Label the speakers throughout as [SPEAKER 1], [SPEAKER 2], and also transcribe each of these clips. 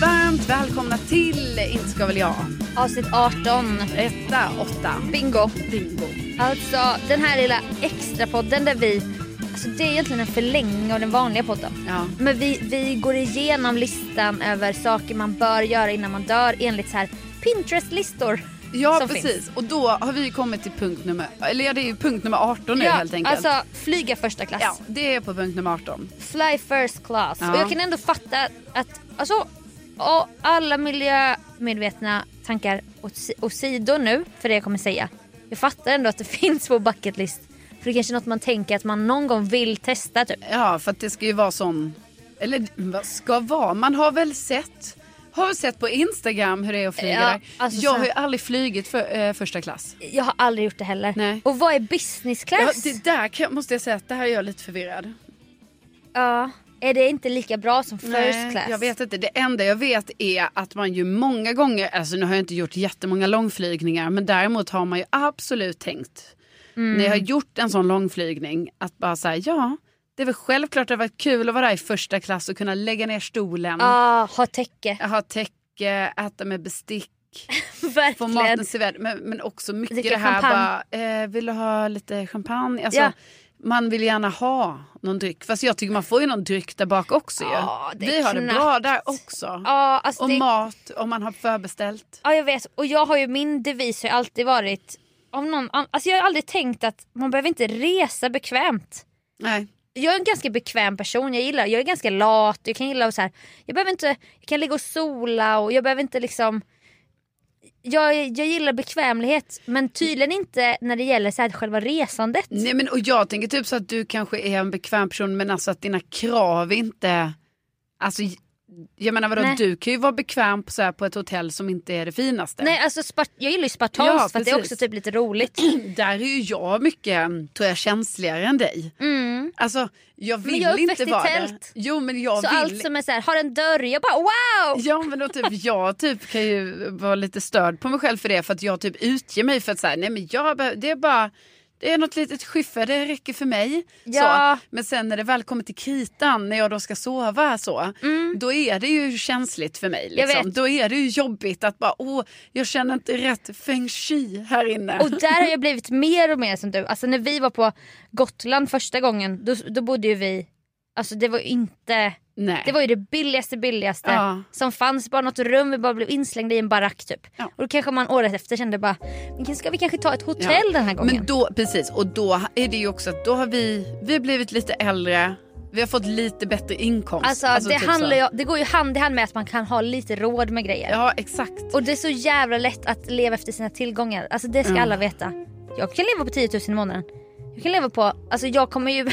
[SPEAKER 1] Varmt välkomna till Inte ska väl jag.
[SPEAKER 2] Avsnitt 18.
[SPEAKER 1] Etta, åtta.
[SPEAKER 2] Bingo.
[SPEAKER 1] Bingo.
[SPEAKER 2] Alltså den här lilla extra podden där vi, alltså det är egentligen en förlängning av den vanliga podden.
[SPEAKER 1] Ja.
[SPEAKER 2] Men vi, vi går igenom listan över saker man bör göra innan man dör enligt så här Pinterest-listor.
[SPEAKER 1] Ja
[SPEAKER 2] som
[SPEAKER 1] precis
[SPEAKER 2] finns.
[SPEAKER 1] och då har vi ju kommit till punkt nummer, eller ja det är ju punkt nummer 18 nu
[SPEAKER 2] ja,
[SPEAKER 1] helt enkelt.
[SPEAKER 2] Alltså flyga första klass.
[SPEAKER 1] Ja, det är på punkt nummer 18.
[SPEAKER 2] Fly first class.
[SPEAKER 1] Ja.
[SPEAKER 2] Och jag kan ändå fatta att alltså, och alla miljömedvetna tankar åt si- åsido nu för det jag kommer säga. Jag fattar ändå att det finns på bucket list. För det är kanske är något man tänker att man någon gång vill testa typ.
[SPEAKER 1] Ja, för att det ska ju vara sån, eller vad ska vara, man har väl sett, har väl sett på Instagram hur det är att flyga
[SPEAKER 2] Ja,
[SPEAKER 1] där.
[SPEAKER 2] alltså
[SPEAKER 1] jag
[SPEAKER 2] så-
[SPEAKER 1] har ju aldrig flugit för, eh, första klass.
[SPEAKER 2] Jag har aldrig gjort det heller.
[SPEAKER 1] Nej.
[SPEAKER 2] Och vad är business
[SPEAKER 1] Ja,
[SPEAKER 2] class? Ja,
[SPEAKER 1] det där kan, måste jag säga att det här är jag lite förvirrad.
[SPEAKER 2] Är det inte lika bra som first
[SPEAKER 1] Nej,
[SPEAKER 2] class?
[SPEAKER 1] Jag vet inte. Det enda jag vet är att man ju många gånger, alltså nu har jag inte gjort jättemånga långflygningar, men däremot har man ju absolut tänkt när jag
[SPEAKER 2] Mm.
[SPEAKER 1] har gjort en sån långflygning att bara säga ja, det är väl självklart det var kul att vara där i första klass och kunna lägga ner stolen,
[SPEAKER 2] Ah, ha täcke.
[SPEAKER 1] ha täcke, äta med bestick. Få maten
[SPEAKER 2] Verkligen.
[SPEAKER 1] serverad. Men, men också mycket
[SPEAKER 2] Dricka
[SPEAKER 1] det här
[SPEAKER 2] champagne.
[SPEAKER 1] bara, eh, vill du ha lite champagne? Alltså,
[SPEAKER 2] Ja.
[SPEAKER 1] Man vill gärna ha någon dryck. Fast jag tycker man får ju någon dryck där bak också ju.
[SPEAKER 2] Ja, det är
[SPEAKER 1] Vi har det
[SPEAKER 2] knappt.
[SPEAKER 1] bra där också.
[SPEAKER 2] Ja, alltså
[SPEAKER 1] och
[SPEAKER 2] det...
[SPEAKER 1] mat om man har förbeställt.
[SPEAKER 2] Ja jag vet och jag har ju min devis har ju alltid varit av någon, an- alltså jag har aldrig tänkt att man behöver inte resa bekvämt.
[SPEAKER 1] Nej.
[SPEAKER 2] Jag är en ganska bekväm person, jag gillar, jag är ganska lat, jag kan gilla att så här, jag behöver inte, jag kan ligga och sola och jag behöver inte liksom jag, jag gillar bekvämlighet men tydligen inte när det gäller så här, själva resandet.
[SPEAKER 1] Nej men och jag tänker typ så att du kanske är en bekväm person men alltså att dina krav inte, alltså jag menar vadå
[SPEAKER 2] Nej.
[SPEAKER 1] du kan ju vara bekväm på, så här, på ett hotell som inte är det finaste.
[SPEAKER 2] Nej alltså spart- jag gillar ju spartanskt
[SPEAKER 1] Ja,
[SPEAKER 2] för att det är
[SPEAKER 1] precis.
[SPEAKER 2] också typ lite roligt.
[SPEAKER 1] Där är ju jag mycket, tror jag, känsligare än dig.
[SPEAKER 2] Mm.
[SPEAKER 1] Alltså jag
[SPEAKER 2] Men
[SPEAKER 1] vill
[SPEAKER 2] jag är
[SPEAKER 1] inte
[SPEAKER 2] uppväxt i
[SPEAKER 1] vara
[SPEAKER 2] tält.
[SPEAKER 1] det. Jo men jag
[SPEAKER 2] Så
[SPEAKER 1] vill.
[SPEAKER 2] allt som är så här, har en dörr, jag bara wow!
[SPEAKER 1] Ja men då typ, jag typ kan ju vara lite störd på mig själv för det för att jag typ utger mig för att säga nej men jag behöver, det är bara det är något litet skiffer, det räcker för mig.
[SPEAKER 2] Ja.
[SPEAKER 1] Så. Men sen när det väl kommer till kritan, när jag då ska sova så, då är det ju känsligt för mig.
[SPEAKER 2] Mm. Jag
[SPEAKER 1] Liksom.
[SPEAKER 2] vet.
[SPEAKER 1] Då är det ju jobbigt att bara, åh, jag känner inte rätt feng shui här inne.
[SPEAKER 2] Och där har jag blivit mer och mer som du. Alltså när vi var på Gotland första gången, då, då bodde ju vi... Alltså det var ju inte...
[SPEAKER 1] nej.
[SPEAKER 2] Det var ju det billigaste billigaste
[SPEAKER 1] Ja.
[SPEAKER 2] som fanns. Bara något rum, vi bara blev inslängda i en barack typ.
[SPEAKER 1] Ja.
[SPEAKER 2] Och då kanske man året efter kände bara, men ska vi kanske ta ett
[SPEAKER 1] Ja.
[SPEAKER 2] hotell den här gången?
[SPEAKER 1] Men då, precis, och då är det ju också att då har vi, vi har blivit lite äldre, vi har fått lite bättre inkomst.
[SPEAKER 2] alltså, det,
[SPEAKER 1] typ
[SPEAKER 2] handlar
[SPEAKER 1] så.
[SPEAKER 2] ju, det går ju hand i hand med att man kan ha lite råd med grejer.
[SPEAKER 1] Ja, exakt.
[SPEAKER 2] Och det är så jävla lätt att leva efter sina tillgångar. Alltså det ska
[SPEAKER 1] Mm.
[SPEAKER 2] alla veta. Jag kan leva på 10 000 i månaden. Jag kan leva på, alltså jag kommer ju,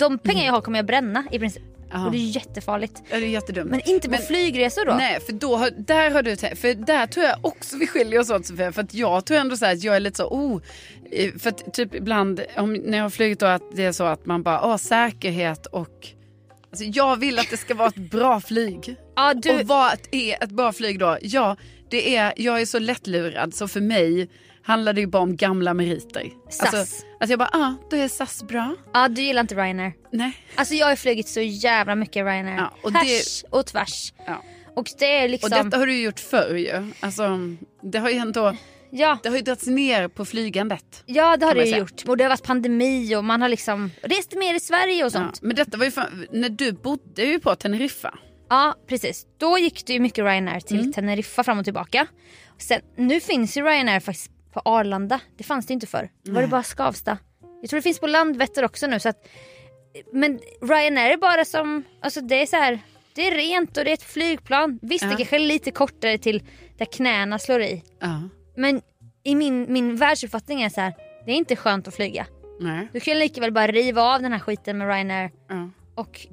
[SPEAKER 2] de pengar jag har kommer jag bränna i princip.
[SPEAKER 1] Ja.
[SPEAKER 2] Och det är jättefarligt.
[SPEAKER 1] Ja, det är jättedumt.
[SPEAKER 2] Men inte på
[SPEAKER 1] Men-
[SPEAKER 2] flygresor då.
[SPEAKER 1] Nej, för då har, där har du tänkt- för där tror jag också vi skiljer oss åt Sofia, för att jag tror ändå så här att jag är lite så oh, eh, för att typ ibland om, när jag har flugit då att det är så att man bara, åh säkerhet och alltså jag vill att det ska vara ett bra flyg.
[SPEAKER 2] Ja, du,
[SPEAKER 1] Och vad är ett bra flyg då? Ja, det är, jag är så lättlurad så för mig handlar det ju bara om gamla meriter.
[SPEAKER 2] SAS.
[SPEAKER 1] Alltså, alltså jag bara, ah, då är SAS bra.
[SPEAKER 2] ja, du gillar inte Ryanair.
[SPEAKER 1] Nej.
[SPEAKER 2] Alltså jag har flugit så jävla mycket Ryanair.
[SPEAKER 1] Ja, och
[SPEAKER 2] och
[SPEAKER 1] det-
[SPEAKER 2] Härs och tvärs.
[SPEAKER 1] Ja.
[SPEAKER 2] Och det är
[SPEAKER 1] Och
[SPEAKER 2] liksom...
[SPEAKER 1] detta har du ju gjort förr ju. Alltså, det har ju ändå,
[SPEAKER 2] ja.
[SPEAKER 1] det har ju dragits ner på flygandet.
[SPEAKER 2] Ja det har
[SPEAKER 1] kan man
[SPEAKER 2] det ju
[SPEAKER 1] säga.
[SPEAKER 2] gjort. Och det har varit pandemi och man har liksom rest mer i Sverige och
[SPEAKER 1] Ja,
[SPEAKER 2] sånt. Ja,
[SPEAKER 1] men detta var ju fan, när du bodde ju på Teneriffa.
[SPEAKER 2] precis. Då gick det ju mycket Ryanair till Teneriffa fram och tillbaka. Sen, nu finns ju Ryanair faktiskt på Arlanda. Det fanns det ju inte förr. Var det bara Skavsta? Jag tror det finns på Landvetter också nu. Så att, men Ryanair är bara som, alltså det är så här, det är rent och det är ett flygplan. Visst det kanske är lite kortare till där knäna slår i.
[SPEAKER 1] Ja.
[SPEAKER 2] Men i min, min världsuppfattning är så här, det är inte skönt att flyga.
[SPEAKER 1] Nej.
[SPEAKER 2] Du kan ju lika väl bara riva av den här skiten med Ryanair.
[SPEAKER 1] Ja.
[SPEAKER 2] Och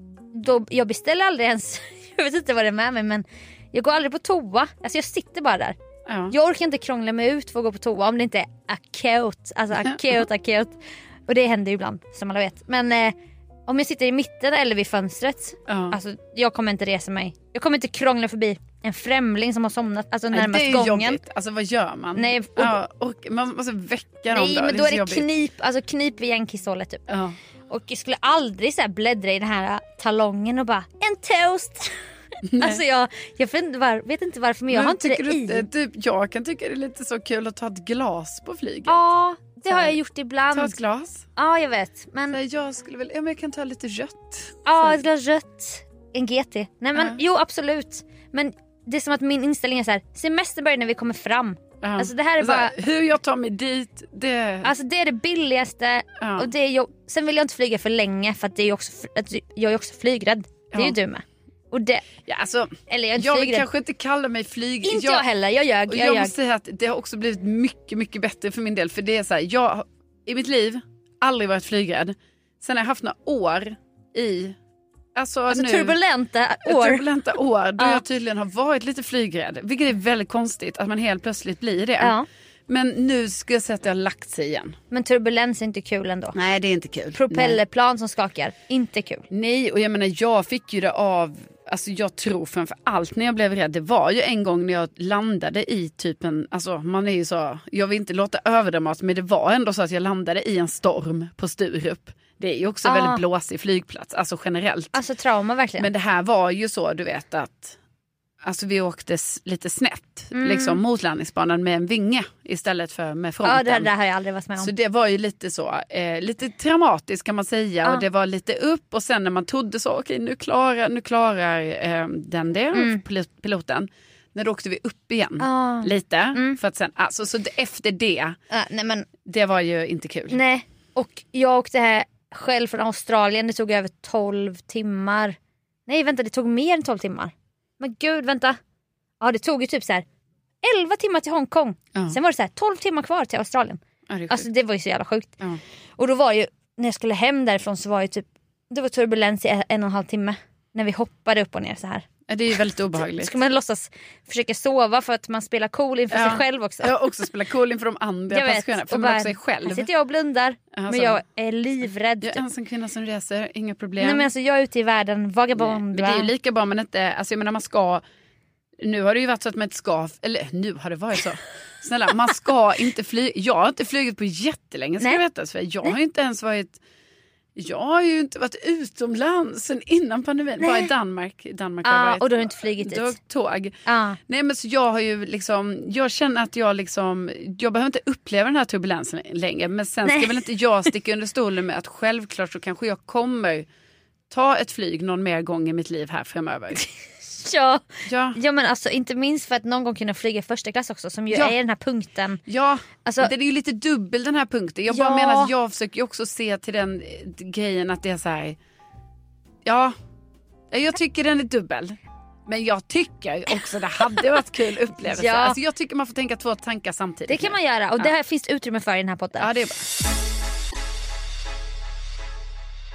[SPEAKER 2] då, jag beställer aldrig ens, jag vet inte vad det är med mig men jag går aldrig på toa. Alltså jag sitter bara där.
[SPEAKER 1] Ja.
[SPEAKER 2] Jag orkar inte krångla mig ut för att gå på toa om det inte är akut. Alltså akut, akut. Och det händer ju ibland som alla vet. Men eh, om jag sitter i mitten eller vid fönstret.
[SPEAKER 1] Ja.
[SPEAKER 2] Alltså jag kommer inte resa mig. Jag kommer inte krångla förbi en främling som har somnat alltså,
[SPEAKER 1] Nej,
[SPEAKER 2] närmast
[SPEAKER 1] det är ju
[SPEAKER 2] gången.
[SPEAKER 1] jobbigt. Alltså vad gör man?
[SPEAKER 2] Nej, och-
[SPEAKER 1] ja, och man måste väcka dem
[SPEAKER 2] Nej
[SPEAKER 1] då.
[SPEAKER 2] men
[SPEAKER 1] det
[SPEAKER 2] då
[SPEAKER 1] är,
[SPEAKER 2] är
[SPEAKER 1] så
[SPEAKER 2] det
[SPEAKER 1] jobbigt.
[SPEAKER 2] knip, alltså knip vid järnkisshålet typ.
[SPEAKER 1] Ja.
[SPEAKER 2] Och jag skulle aldrig så här bläddra i den här talongen och bara en toast. alltså jag, jag vet inte var, vet inte varför men jag har inte det
[SPEAKER 1] tycker du,
[SPEAKER 2] i.
[SPEAKER 1] inte- typ, jag kan tycka det är lite så kul att ta ett glas på flyget.
[SPEAKER 2] Ja, det har
[SPEAKER 1] här.
[SPEAKER 2] jag gjort
[SPEAKER 1] Ta
[SPEAKER 2] ibland.
[SPEAKER 1] ett glas.
[SPEAKER 2] Ja, jag vet. Men
[SPEAKER 1] Nej, Jag skulle väl, ja, men jag kan ta lite rött.
[SPEAKER 2] ja,
[SPEAKER 1] Så-
[SPEAKER 2] ett glas rött, en GT. Nej men
[SPEAKER 1] Ja.
[SPEAKER 2] jo absolut. Men det är som att min inställning är så här, semester börjar när vi kommer fram.
[SPEAKER 1] Ja.
[SPEAKER 2] Alltså det här är
[SPEAKER 1] Um, Så
[SPEAKER 2] bara,
[SPEAKER 1] hur jag tar mig dit, det...
[SPEAKER 2] alltså det är det billigaste.
[SPEAKER 1] Ja.
[SPEAKER 2] Och det är jobb... Sen vill jag inte flyga för länge för att det är ju också, fr- att jag är också flygrädd. Det är ju
[SPEAKER 1] Ja.
[SPEAKER 2] du med. Och det,
[SPEAKER 1] ja, alltså,
[SPEAKER 2] eller jag är inte
[SPEAKER 1] jag vill
[SPEAKER 2] flygrädd.
[SPEAKER 1] kanske inte kalla mig flyg...
[SPEAKER 2] Inte jag, heller, jag ljög.
[SPEAKER 1] Och
[SPEAKER 2] Jag
[SPEAKER 1] jag
[SPEAKER 2] ljög.
[SPEAKER 1] måste säga att det har också blivit mycket, mycket bättre för min del. För det är så här, jag har i mitt liv aldrig varit flygrädd. Sen har jag haft några år i... Alltså,
[SPEAKER 2] Alltså
[SPEAKER 1] nu,
[SPEAKER 2] turbulenta år.
[SPEAKER 1] Turbulenta år då
[SPEAKER 2] Ja.
[SPEAKER 1] jag tydligen har varit lite flygrädd. Vilket är väldigt konstigt att man helt plötsligt blir det.
[SPEAKER 2] Ja.
[SPEAKER 1] Men nu ska jag säga att det har lagt sig igen.
[SPEAKER 2] Men turbulens är inte kul ändå.
[SPEAKER 1] Nej, det är inte kul.
[SPEAKER 2] Propellerplan som skakar, inte kul.
[SPEAKER 1] Nej, och jag menar jag fick ju det av, alltså jag tror framför allt när jag blev rädd, det var ju en gång när jag landade i typ en, alltså man är ju så, jag vill inte låta överdramatiskt men det var ändå så att jag landade i en storm på Sturup. Det är ju också en
[SPEAKER 2] Ah.
[SPEAKER 1] väldigt blåsig flygplats, alltså generellt.
[SPEAKER 2] Alltså trauma verkligen.
[SPEAKER 1] Men det här var ju så du vet att, alltså vi åkte s- lite snett,
[SPEAKER 2] Mm.
[SPEAKER 1] liksom mot landningsbanan med en vinge istället för med fronten.
[SPEAKER 2] ja, det här, det här har jag aldrig varit med om.
[SPEAKER 1] Så det var ju lite så, eh, lite traumatiskt kan man säga
[SPEAKER 2] Ja.
[SPEAKER 1] och det var lite upp och sen när man trodde så, okej nu klarar, nu klarar eh, den det,
[SPEAKER 2] Mm.
[SPEAKER 1] pil- piloten. När då åkte vi upp igen
[SPEAKER 2] Ah.
[SPEAKER 1] lite, för att sen, alltså, så det, efter det,
[SPEAKER 2] Ja, Äh, nej, men,
[SPEAKER 1] det var ju inte kul.
[SPEAKER 2] nej. Och jag åkte här själv från Australien, det tog över 12 timmar. Nej vänta, det tog mer än 12 timmar. Men gud vänta. Ja det tog ju typ så här 11 timmar till Hongkong.
[SPEAKER 1] Ja.
[SPEAKER 2] Sen var det så här 12 timmar kvar till Australien.
[SPEAKER 1] Ja, det är
[SPEAKER 2] Alltså
[SPEAKER 1] sjukt.
[SPEAKER 2] det var ju så jävla sjukt.
[SPEAKER 1] Ja.
[SPEAKER 2] Och då var ju, när jag skulle hem därifrån så var ju typ, det var turbulens i en och en halv timme. När vi hoppade upp och ner så här.
[SPEAKER 1] Ja, det är ju väldigt
[SPEAKER 2] Då
[SPEAKER 1] obehagligt.
[SPEAKER 2] ska man låtsas försöka sova för att man spelar cool inför
[SPEAKER 1] Ja.
[SPEAKER 2] sig själv också.
[SPEAKER 1] Jag har också spela cool inför de andra passagerarna, för
[SPEAKER 2] och
[SPEAKER 1] man
[SPEAKER 2] bara,
[SPEAKER 1] också är själv.
[SPEAKER 2] Här sitter jag och blundar
[SPEAKER 1] Alltså.
[SPEAKER 2] men jag är livrädd.
[SPEAKER 1] Jag är
[SPEAKER 2] typ.
[SPEAKER 1] ensam kvinna som reser, inga problem.
[SPEAKER 2] Nej, men alltså, jag är ute i världen,
[SPEAKER 1] Nej,
[SPEAKER 2] vagabond.
[SPEAKER 1] men det är ju lika bra man inte, alltså jag menar man ska, nu har det ju varit så att man inte ska, eller nu har det varit så. Snälla, man ska inte flyga, jag har inte flugit på jättelänge ska
[SPEAKER 2] Nej.
[SPEAKER 1] jag veta, för jag har ju inte ens varit, jag har ju inte varit utomlands sen innan pandemin, bara i Danmark. I Danmark har jag
[SPEAKER 2] Ah,
[SPEAKER 1] varit
[SPEAKER 2] och då har du inte flugit dit.
[SPEAKER 1] Då har jag åkt tåg.
[SPEAKER 2] Ah.
[SPEAKER 1] Nej men så jag har ju liksom, jag känner att jag liksom, jag behöver inte uppleva den här turbulensen längre. Men sen
[SPEAKER 2] Nej.
[SPEAKER 1] ska väl inte jag sticka under stolen med att självklart så kanske jag kommer ta ett flyg någon mer gång i mitt liv här framöver.
[SPEAKER 2] ja.
[SPEAKER 1] Ja,
[SPEAKER 2] ja men alltså inte minst för att någon gång kunna flyga i första klass också som ju
[SPEAKER 1] Ja.
[SPEAKER 2] är den här punkten.
[SPEAKER 1] ja.
[SPEAKER 2] Alltså-
[SPEAKER 1] det är ju lite dubbel den här punkten. Jag bara
[SPEAKER 2] Ja.
[SPEAKER 1] menar att jag försöker ju också se till den eh, grejen att det är så här, ja, Eh, jag tycker den är dubbel. Men jag tycker också det hade varit kul upplevelse.
[SPEAKER 2] Ja.
[SPEAKER 1] Alltså jag tycker man får tänka två tankar samtidigt.
[SPEAKER 2] Det kan man göra och det här finns utrymme för i den här podden.
[SPEAKER 1] Ja, det är bra.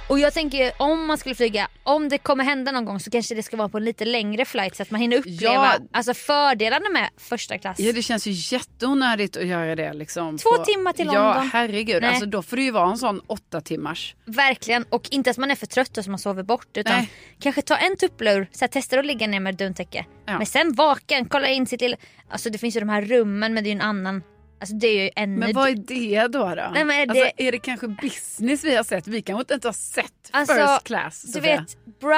[SPEAKER 2] Och jag tänker om man skulle flyga, om det kommer hända någon gång så kanske det ska vara på en lite längre flight så att man hinner uppleva
[SPEAKER 1] Ja.
[SPEAKER 2] alltså fördelarna med första klass.
[SPEAKER 1] Ja, det känns ju jätteonödigt att göra det. Liksom,
[SPEAKER 2] Två timmar till
[SPEAKER 1] Ja,
[SPEAKER 2] London.
[SPEAKER 1] herregud.
[SPEAKER 2] Nej.
[SPEAKER 1] Alltså, då får det ju vara en sån åtta timmars.
[SPEAKER 2] Verkligen och inte att man är för trött och så man sover bort utan
[SPEAKER 1] Nej.
[SPEAKER 2] kanske ta en tupplur, så här, testa att ligga ner med duntäcke.
[SPEAKER 1] Ja.
[SPEAKER 2] Men sen vaken, kolla in sitt lilla, alltså det finns ju de här rummen men det är ju en annan, alltså det är ju en
[SPEAKER 1] Men vad är det då? då?
[SPEAKER 2] Nej, men är
[SPEAKER 1] alltså,
[SPEAKER 2] det-
[SPEAKER 1] är det kanske business vi har sett? Vi kanske inte har sett
[SPEAKER 2] Alltså,
[SPEAKER 1] first class.
[SPEAKER 2] Du
[SPEAKER 1] Sofia.
[SPEAKER 2] vet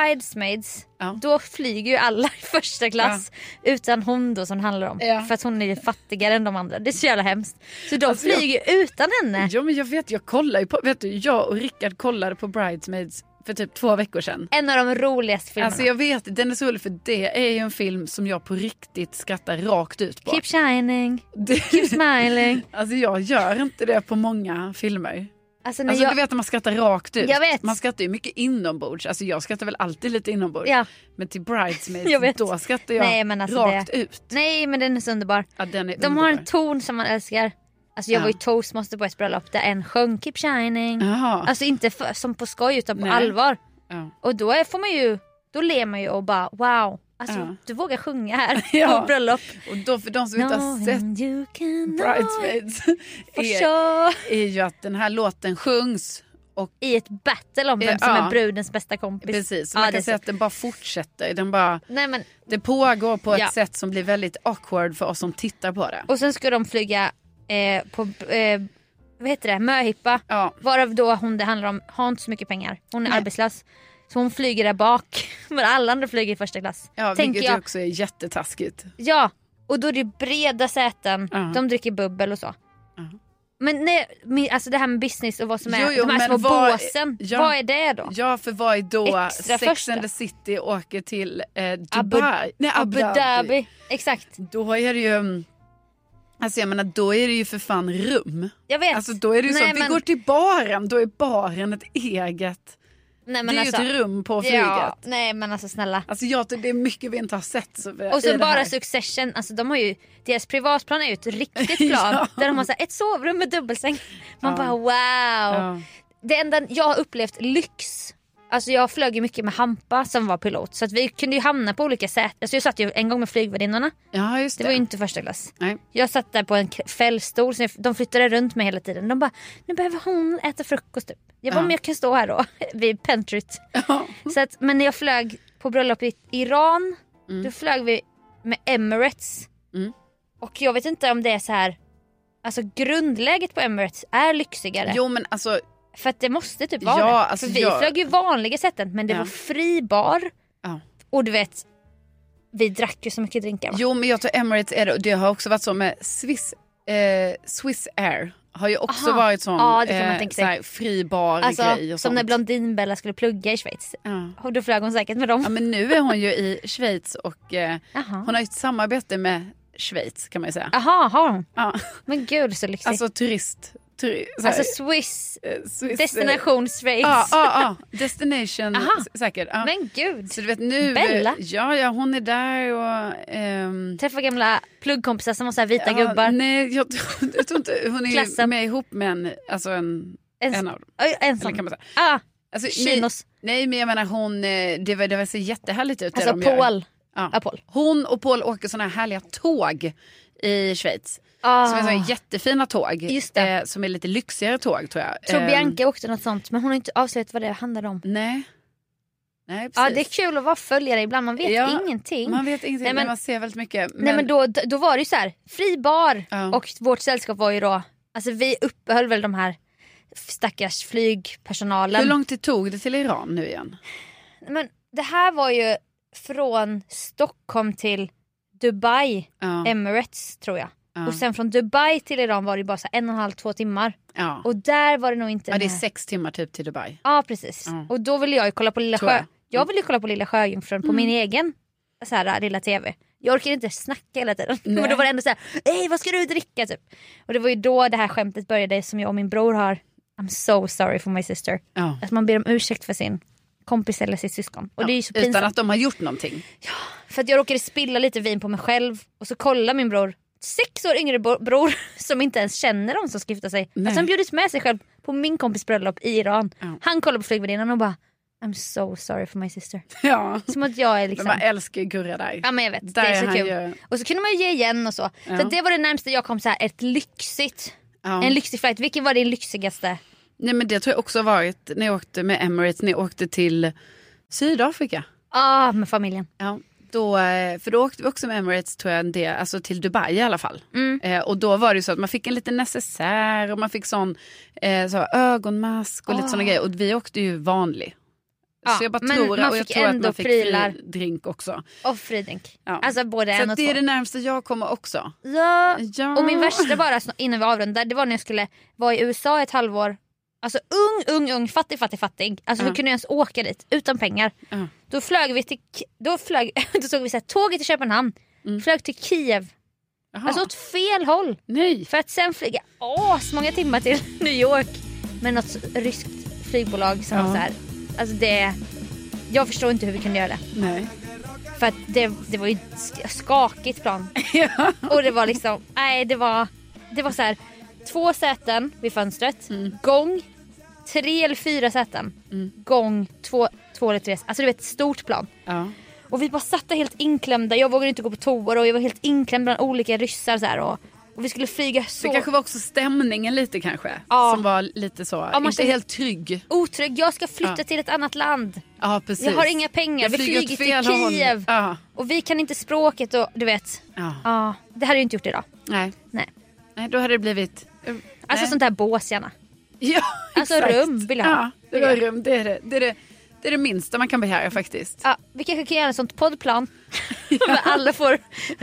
[SPEAKER 2] bridesmaids,
[SPEAKER 1] Ja.
[SPEAKER 2] då flyger ju alla i första klass utan hon då som det handlar om.
[SPEAKER 1] Ja.
[SPEAKER 2] För att hon är ju fattigare än de andra. Det är så jävla hemskt. Så de
[SPEAKER 1] Alltså, jag-
[SPEAKER 2] flyger ju utan henne.
[SPEAKER 1] Ja, men jag vet, jag kollar ju på, vet du, jag och Rickard kollade på Bridesmaids för typ två veckor sedan.
[SPEAKER 2] En av de roligaste filmerna.
[SPEAKER 1] Alltså jag vet, den är så rolig för det är ju en film som jag på riktigt skrattar rakt ut på.
[SPEAKER 2] Keep shining,
[SPEAKER 1] Det-
[SPEAKER 2] keep smiling.
[SPEAKER 1] alltså jag gör inte det på många filmer.
[SPEAKER 2] Alltså, när
[SPEAKER 1] Alltså
[SPEAKER 2] jag...
[SPEAKER 1] du vet att man skrattar rakt ut.
[SPEAKER 2] Jag vet.
[SPEAKER 1] Man skrattar ju mycket inombords. Alltså jag skrattar väl alltid lite inombords.
[SPEAKER 2] Ja.
[SPEAKER 1] Men till Bridesmaids,
[SPEAKER 2] Jag vet.
[SPEAKER 1] då skrattar jag
[SPEAKER 2] Nej, men alltså
[SPEAKER 1] rakt
[SPEAKER 2] det-
[SPEAKER 1] ut.
[SPEAKER 2] Nej men den är så underbar.
[SPEAKER 1] Ja, den är
[SPEAKER 2] De
[SPEAKER 1] underbar.
[SPEAKER 2] har en ton som man älskar. Alltså jag
[SPEAKER 1] Ja.
[SPEAKER 2] var ju toastmaster på ett bröllop där en sjöng keep shining.
[SPEAKER 1] Jaha.
[SPEAKER 2] Alltså inte för, som på skoj utan på
[SPEAKER 1] Nej.
[SPEAKER 2] allvar.
[SPEAKER 1] Ja.
[SPEAKER 2] Och då är, får man ju, då ler man ju och bara wow. Alltså
[SPEAKER 1] Ja.
[SPEAKER 2] du vågar sjunga här
[SPEAKER 1] Ja.
[SPEAKER 2] på bröllop.
[SPEAKER 1] Och då för de som inte har sett
[SPEAKER 2] Knowing you can
[SPEAKER 1] Bridesmaids
[SPEAKER 2] know it for
[SPEAKER 1] är,
[SPEAKER 2] sure.
[SPEAKER 1] är ju att den här låten sjungs. Och
[SPEAKER 2] I ett battle om vem
[SPEAKER 1] Ja.
[SPEAKER 2] som är brudens bästa kompis.
[SPEAKER 1] precis, så
[SPEAKER 2] Ja,
[SPEAKER 1] man
[SPEAKER 2] det är
[SPEAKER 1] kan säga
[SPEAKER 2] så.
[SPEAKER 1] att den bara fortsätter. Den bara,
[SPEAKER 2] Nej, men,
[SPEAKER 1] det pågår på ett
[SPEAKER 2] Ja.
[SPEAKER 1] sätt som blir väldigt awkward för oss som tittar på det.
[SPEAKER 2] och sen ska de flyga eh, på eh, vad heter det? möhippa.
[SPEAKER 1] Ja.
[SPEAKER 2] Varav då hon det handlar om har inte så mycket pengar. Hon är
[SPEAKER 1] Nej.
[SPEAKER 2] arbetslös. Så hon flyger där bak. Men alla andra flyger i första klass.
[SPEAKER 1] Ja,
[SPEAKER 2] tänker
[SPEAKER 1] vilket
[SPEAKER 2] jag.
[SPEAKER 1] ju också är jättetaskigt.
[SPEAKER 2] Ja, och då är det breda säten.
[SPEAKER 1] Ja.
[SPEAKER 2] De dricker bubbel och så. Men nej, men alltså det här med business och vad som är
[SPEAKER 1] Jo, jo,
[SPEAKER 2] de här
[SPEAKER 1] men
[SPEAKER 2] små
[SPEAKER 1] vad-
[SPEAKER 2] båsen.
[SPEAKER 1] ja.
[SPEAKER 2] Vad är det då?
[SPEAKER 1] Ja, för vad är då
[SPEAKER 2] Extra
[SPEAKER 1] Sex
[SPEAKER 2] första.
[SPEAKER 1] and the City åker till eh, Dubai?
[SPEAKER 2] Abu,
[SPEAKER 1] Nej,
[SPEAKER 2] Abu Dhabi. Exakt.
[SPEAKER 1] Då är det ju... mm, Alltså jag menar, då är det ju för fan rum.
[SPEAKER 2] Jag vet.
[SPEAKER 1] Alltså då är det ju så,
[SPEAKER 2] Nej,
[SPEAKER 1] vi
[SPEAKER 2] men-
[SPEAKER 1] går till baren, då är baren ett eget.
[SPEAKER 2] Nej,
[SPEAKER 1] det är
[SPEAKER 2] alltså,
[SPEAKER 1] ju ett rum på flyget.
[SPEAKER 2] Ja, nej men alltså snälla.
[SPEAKER 1] Alltså jag tycker det är mycket vi inte har sett. Så vi,
[SPEAKER 2] Och
[SPEAKER 1] i
[SPEAKER 2] sen
[SPEAKER 1] det
[SPEAKER 2] bara
[SPEAKER 1] här.
[SPEAKER 2] Succession, alltså de har ju, deras privatplan är ju ett riktigt plan
[SPEAKER 1] Ja.
[SPEAKER 2] där de har så här, ett sovrum med dubbelsäng. Man
[SPEAKER 1] Ja.
[SPEAKER 2] bara wow.
[SPEAKER 1] Ja.
[SPEAKER 2] Det enda jag har upplevt lyx, alltså jag flög ju mycket med Hampa som var pilot så att vi kunde ju hamna på olika sätt. Alltså jag satt ju en gång med flygvärdinnorna,
[SPEAKER 1] ja, just
[SPEAKER 2] det
[SPEAKER 1] det.
[SPEAKER 2] var ju inte första klass.
[SPEAKER 1] Nej.
[SPEAKER 2] Jag satt där på en k- fällstol, så jag- de flyttade runt mig hela tiden. De bara, nu behöver hon äta frukost typ. Jag bara,
[SPEAKER 1] Ja.
[SPEAKER 2] men jag kan stå här då vid pentryt. Så att, men när jag flög på bröllop i Iran, då flög vi med Emirates.
[SPEAKER 1] Mm.
[SPEAKER 2] Och jag vet inte om det är så här, alltså grundläget på Emirates är lyxigare.
[SPEAKER 1] Jo men alltså,
[SPEAKER 2] För att det måste typ vara
[SPEAKER 1] Ja,
[SPEAKER 2] det.
[SPEAKER 1] alltså
[SPEAKER 2] För vi
[SPEAKER 1] jag-
[SPEAKER 2] flög ju vanliga sätten men det
[SPEAKER 1] Ja.
[SPEAKER 2] var fri bar
[SPEAKER 1] ja.
[SPEAKER 2] och du vet, vi drack ju så mycket drinkar. va?
[SPEAKER 1] jo men jag tror Emirates är det och det har också varit så med Swiss, eh, Swiss Air. Har ju också
[SPEAKER 2] Aha.
[SPEAKER 1] varit sån eh,
[SPEAKER 2] Ja, det kan man tänka sig.
[SPEAKER 1] så här, fri bar
[SPEAKER 2] Alltså,
[SPEAKER 1] grej och
[SPEAKER 2] som
[SPEAKER 1] sånt.
[SPEAKER 2] när Blondinbella skulle plugga i Schweiz.
[SPEAKER 1] ja.
[SPEAKER 2] Och då flög hon säkert med dem.
[SPEAKER 1] ja men nu är hon ju i Schweiz och eh,
[SPEAKER 2] Jaha.
[SPEAKER 1] hon har ju ett samarbete med Schweiz kan man ju säga.
[SPEAKER 2] Jaha, har hon?
[SPEAKER 1] Ja.
[SPEAKER 2] Men gud så lyxigt. Alltså,
[SPEAKER 1] Alltså turist. Turi, så här,
[SPEAKER 2] alltså Swiss
[SPEAKER 1] eh, Swiss, eh,
[SPEAKER 2] destination Schweiz.
[SPEAKER 1] Ja, ja, ja. Destination
[SPEAKER 2] Aha.
[SPEAKER 1] s- säkert. Ja.
[SPEAKER 2] Men gud.
[SPEAKER 1] Så du vet nu,
[SPEAKER 2] Bella.
[SPEAKER 1] Ja, ja hon är där och... ehm,
[SPEAKER 2] Träffa gamla pluggkompisar som var så här vita
[SPEAKER 1] ja,
[SPEAKER 2] gubbar.
[SPEAKER 1] Nej, jag, tror- jag tror inte... Hon är ju
[SPEAKER 2] Klassen.
[SPEAKER 1] med ihop med en, alltså en,
[SPEAKER 2] Ens,
[SPEAKER 1] en av dem.
[SPEAKER 2] Oj, ensam.
[SPEAKER 1] Eller kan man säga.
[SPEAKER 2] Ah,
[SPEAKER 1] Alltså,
[SPEAKER 2] Chinos.
[SPEAKER 1] Nej, nej, men jag menar hon, eh, det, var, det var så jättehärligt ut det
[SPEAKER 2] alltså
[SPEAKER 1] de gör.
[SPEAKER 2] Paul.
[SPEAKER 1] Ja.
[SPEAKER 2] Ja, Paul.
[SPEAKER 1] Hon och Paul åker såna här härliga tåg i Schweiz.
[SPEAKER 2] Ah.
[SPEAKER 1] Som är såna jättefina tåg.
[SPEAKER 2] Just det.
[SPEAKER 1] Eh, som är lite lyxigare tåg tror jag.
[SPEAKER 2] Tror
[SPEAKER 1] Ehm,
[SPEAKER 2] Bianca åkte något sånt men hon har inte avslöjat vad det handlade om.
[SPEAKER 1] Nej. Nej, precis.
[SPEAKER 2] Ja det är kul att vara följare ibland, man vet
[SPEAKER 1] Ja,
[SPEAKER 2] ingenting.
[SPEAKER 1] Man vet ingenting,
[SPEAKER 2] Nej,
[SPEAKER 1] men
[SPEAKER 2] men-
[SPEAKER 1] man ser väldigt mycket. Men,
[SPEAKER 2] Nej men då, då var det ju så här, fri bar
[SPEAKER 1] Ja.
[SPEAKER 2] och vårt sällskap var ju då, alltså vi uppehöll väl de här stackars flygpersonalen.
[SPEAKER 1] hur långt det tog det till Iran nu igen?
[SPEAKER 2] Men det här var ju från Stockholm till Dubai,
[SPEAKER 1] Ja,
[SPEAKER 2] Emirates tror jag.
[SPEAKER 1] ja,
[SPEAKER 2] Och sen från Dubai till Iran var det ju bara så här en och en halv, två timmar.
[SPEAKER 1] ja.
[SPEAKER 2] Och där var det nog inte
[SPEAKER 1] ja, det är
[SPEAKER 2] den här-
[SPEAKER 1] sex timmar typ till Dubai.
[SPEAKER 2] Ja precis.
[SPEAKER 1] Ja.
[SPEAKER 2] Och då ville jag ju kolla på Lilla
[SPEAKER 1] Tror jag. Mm.
[SPEAKER 2] Sjö. Jag ville ju kolla på Lilla Sjöjungfrun på min egen så här, lilla tv. Jag orkade inte snacka hela tiden. Men då var det ändå så här, hej vad ska du dricka typ. Och det var ju då det här skämtet började som jag och min bror har. I'm so sorry for my sister.
[SPEAKER 1] Ja.
[SPEAKER 2] Att man ber om ursäkt för sin kompis eller sitt syskon. Och det är ju så pinsamt.
[SPEAKER 1] Utan att de har gjort någonting.
[SPEAKER 2] För att jag råkade spilla lite vin på mig själv och så kollar min bror sex år yngre bo- bror som inte ens känner dem som ska gifta sig.
[SPEAKER 1] Nej.
[SPEAKER 2] Alltså han bjudits med sig själv på min kompis bröllop i Iran.
[SPEAKER 1] Ja.
[SPEAKER 2] Han kollar på flygvärdinnan och bara I'm so sorry for my sister.
[SPEAKER 1] Ja.
[SPEAKER 2] Som att jag är
[SPEAKER 1] Men
[SPEAKER 2] liksom...
[SPEAKER 1] man älskar ju Gurra där.
[SPEAKER 2] Ja men jag vet, det
[SPEAKER 1] Där
[SPEAKER 2] är så
[SPEAKER 1] han
[SPEAKER 2] kul.
[SPEAKER 1] ju-
[SPEAKER 2] Och så kunde man ju ge igen och så.
[SPEAKER 1] Ja.
[SPEAKER 2] Så att det var det närmaste jag kom så här ett lyxigt.
[SPEAKER 1] Ja.
[SPEAKER 2] En lyxig flight. Vilken var din lyxigaste?
[SPEAKER 1] Nej, men det tror jag också har varit när jag åkte med Emirates, när jag åkte till Sydafrika.
[SPEAKER 2] Ah, med familjen.
[SPEAKER 1] Ja. Då, eh, för då åkte vi också med Emirates tror jag, en del, alltså till Dubai i alla fall.
[SPEAKER 2] Mm.
[SPEAKER 1] Eh, och då var det ju så att man fick en liten necessär och man fick sån eh, så här ögonmask och lite såna grejer. Och vi åkte ju vanlig.
[SPEAKER 2] Ah. Ja,
[SPEAKER 1] så jag bara
[SPEAKER 2] Ah, men
[SPEAKER 1] tror,
[SPEAKER 2] man
[SPEAKER 1] och jag
[SPEAKER 2] fick
[SPEAKER 1] tror att
[SPEAKER 2] ändå
[SPEAKER 1] man fick fri
[SPEAKER 2] prylar.
[SPEAKER 1] drink också.
[SPEAKER 2] Och fridrink.
[SPEAKER 1] Ja.
[SPEAKER 2] Alltså både
[SPEAKER 1] Så
[SPEAKER 2] en och
[SPEAKER 1] att
[SPEAKER 2] två.
[SPEAKER 1] det är det närmaste jag kommer också.
[SPEAKER 2] Ja.
[SPEAKER 1] Ja.
[SPEAKER 2] Och min värsta bara sn- innan vi avrundar det var när jag skulle vara i USA ett halvår. Alltså ung, ung, ung, fattig, fattig, fattig. Alltså hur
[SPEAKER 1] Ja.
[SPEAKER 2] kunde jag ens åka dit utan pengar?
[SPEAKER 1] Ja.
[SPEAKER 2] Då flög vi till, K- då flög, då såg vi så här, tåget till Köpenhamn, flög till Kiev.
[SPEAKER 1] Mm. Jaha.
[SPEAKER 2] Alltså åt fel håll.
[SPEAKER 1] Nej.
[SPEAKER 2] För att sen flyga asmånga timmar till New York med något ryskt flygbolag som
[SPEAKER 1] Ja.
[SPEAKER 2] var så här. Alltså det, jag förstår inte hur vi kunde göra det.
[SPEAKER 1] Nej.
[SPEAKER 2] För att det, det var ju ett sk- skakigt plan. Och det var liksom, nej det var, det var så här. Två säten vid fönstret,
[SPEAKER 1] Mm.
[SPEAKER 2] gång tre eller fyra säten, gång två, två eller tre. Alltså du vet ett stort plan.
[SPEAKER 1] Ja.
[SPEAKER 2] Och vi bara satt där helt inklämda, jag vågade inte gå på toa och jag var helt inklämd bland olika ryssar så här. Och, och vi skulle flyga så
[SPEAKER 1] Det kanske var också stämningen lite kanske.
[SPEAKER 2] Ja.
[SPEAKER 1] Som var lite så,
[SPEAKER 2] man
[SPEAKER 1] inte
[SPEAKER 2] känner-
[SPEAKER 1] helt trygg.
[SPEAKER 2] otrygg, jag ska flytta
[SPEAKER 1] Ja.
[SPEAKER 2] till ett annat land.
[SPEAKER 1] Ja, precis.
[SPEAKER 2] Jag har inga pengar,
[SPEAKER 1] Jag
[SPEAKER 2] vi
[SPEAKER 1] flyger åt
[SPEAKER 2] flyger
[SPEAKER 1] fel
[SPEAKER 2] till
[SPEAKER 1] håll.
[SPEAKER 2] Kiev.
[SPEAKER 1] Ja.
[SPEAKER 2] Och vi kan inte språket och du vet.
[SPEAKER 1] Ja.
[SPEAKER 2] Ja, det hade jag inte gjort idag.
[SPEAKER 1] Nej.
[SPEAKER 2] Nej.
[SPEAKER 1] Nej, då hade det blivit...
[SPEAKER 2] Alltså
[SPEAKER 1] Nej.
[SPEAKER 2] sånt där bås gärna.
[SPEAKER 1] Ja,
[SPEAKER 2] Alltså,
[SPEAKER 1] exakt.
[SPEAKER 2] rum vill jag ha.
[SPEAKER 1] Ja, det var rum. Det är det, det, är det, det, är det minsta man kan begära faktiskt.
[SPEAKER 2] Ja, vi kanske kan göra ett sånt poddplan. Där alla får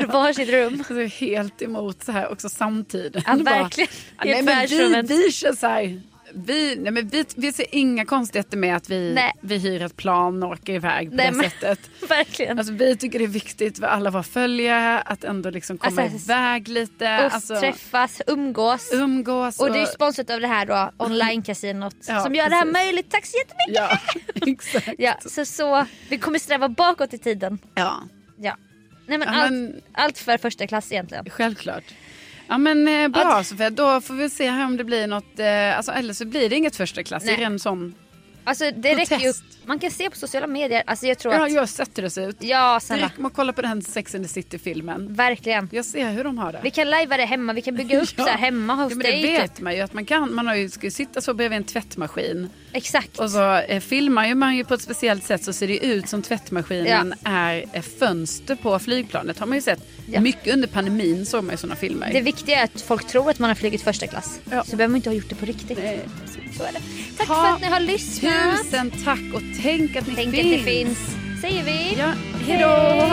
[SPEAKER 2] varsitt rum.
[SPEAKER 1] Alltså, helt emot så här också samtiden.
[SPEAKER 2] Ja,
[SPEAKER 1] Bara,
[SPEAKER 2] verkligen.
[SPEAKER 1] ja,
[SPEAKER 2] I
[SPEAKER 1] nej,
[SPEAKER 2] ett
[SPEAKER 1] men vi,
[SPEAKER 2] världsrummet.
[SPEAKER 1] vi kör så här. Vi, nej, men vi, vi ser inga konstigheter med att vi,
[SPEAKER 2] Nej.
[SPEAKER 1] vi hyr ett plan och åker iväg på
[SPEAKER 2] Nej,
[SPEAKER 1] det
[SPEAKER 2] men-
[SPEAKER 1] sättet.
[SPEAKER 2] Verkligen.
[SPEAKER 1] Alltså, vi tycker det är viktigt för alla våra följare att ändå liksom komma
[SPEAKER 2] Alltså,
[SPEAKER 1] iväg lite. alltså,
[SPEAKER 2] Oss träffas, umgås.
[SPEAKER 1] umgås.
[SPEAKER 2] Och det är ju sponsrat av det här då, online-casinot
[SPEAKER 1] Ja,
[SPEAKER 2] som gör det här
[SPEAKER 1] precis.
[SPEAKER 2] möjligt. Tack så jättemycket!
[SPEAKER 1] Ja, exakt.
[SPEAKER 2] Ja, så, så vi kommer sträva bakåt i tiden.
[SPEAKER 1] Ja.
[SPEAKER 2] Ja. Nej men,
[SPEAKER 1] Ja, men-
[SPEAKER 2] Allt, allt för första klass egentligen.
[SPEAKER 1] Självklart. Ja men eh, bra
[SPEAKER 2] Ja, det-
[SPEAKER 1] Sofia, då får vi se här om det blir något, eh, alltså, eller så blir det inget första klass.
[SPEAKER 2] Nej.
[SPEAKER 1] Är det en sån?
[SPEAKER 2] Alltså det
[SPEAKER 1] Protest.
[SPEAKER 2] räcker ju. Man kan se på sociala medier. Alltså jag tror
[SPEAKER 1] Ja,
[SPEAKER 2] att...
[SPEAKER 1] jag sätter det så ut.
[SPEAKER 2] Ja,
[SPEAKER 1] Det
[SPEAKER 2] snälla.
[SPEAKER 1] räcker med att kolla på den Sex and the City-filmen.
[SPEAKER 2] Verkligen.
[SPEAKER 1] Jag ser hur de har det.
[SPEAKER 2] Vi kan lajva det hemma, vi kan bygga upp
[SPEAKER 1] Ja.
[SPEAKER 2] så här hemma
[SPEAKER 1] ja,
[SPEAKER 2] hos
[SPEAKER 1] men det
[SPEAKER 2] dig. typ.
[SPEAKER 1] vet man ju att man kan. Man har ju, ska ju sitta så bredvid en tvättmaskin.
[SPEAKER 2] Exakt.
[SPEAKER 1] Och så eh, filmar ju man ju på ett speciellt sätt så ser det ju ut som tvättmaskinen är eh, fönster på flygplanet. Har man ju sett.
[SPEAKER 2] Ja.
[SPEAKER 1] Mycket under pandemin såg man ju sådana filmer.
[SPEAKER 2] Det viktiga är att folk tror att man har flugit första klass.
[SPEAKER 1] Ja.
[SPEAKER 2] Så behöver man inte ha gjort det på riktigt.
[SPEAKER 1] Nej.
[SPEAKER 2] Så är det. Tack
[SPEAKER 1] Ha
[SPEAKER 2] för att ni har lyssnat.
[SPEAKER 1] Tusen tack och tänk att ni
[SPEAKER 2] Tänk
[SPEAKER 1] finns.
[SPEAKER 2] att det finns. Säger vi.
[SPEAKER 1] Ja, hejdå!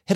[SPEAKER 3] Hit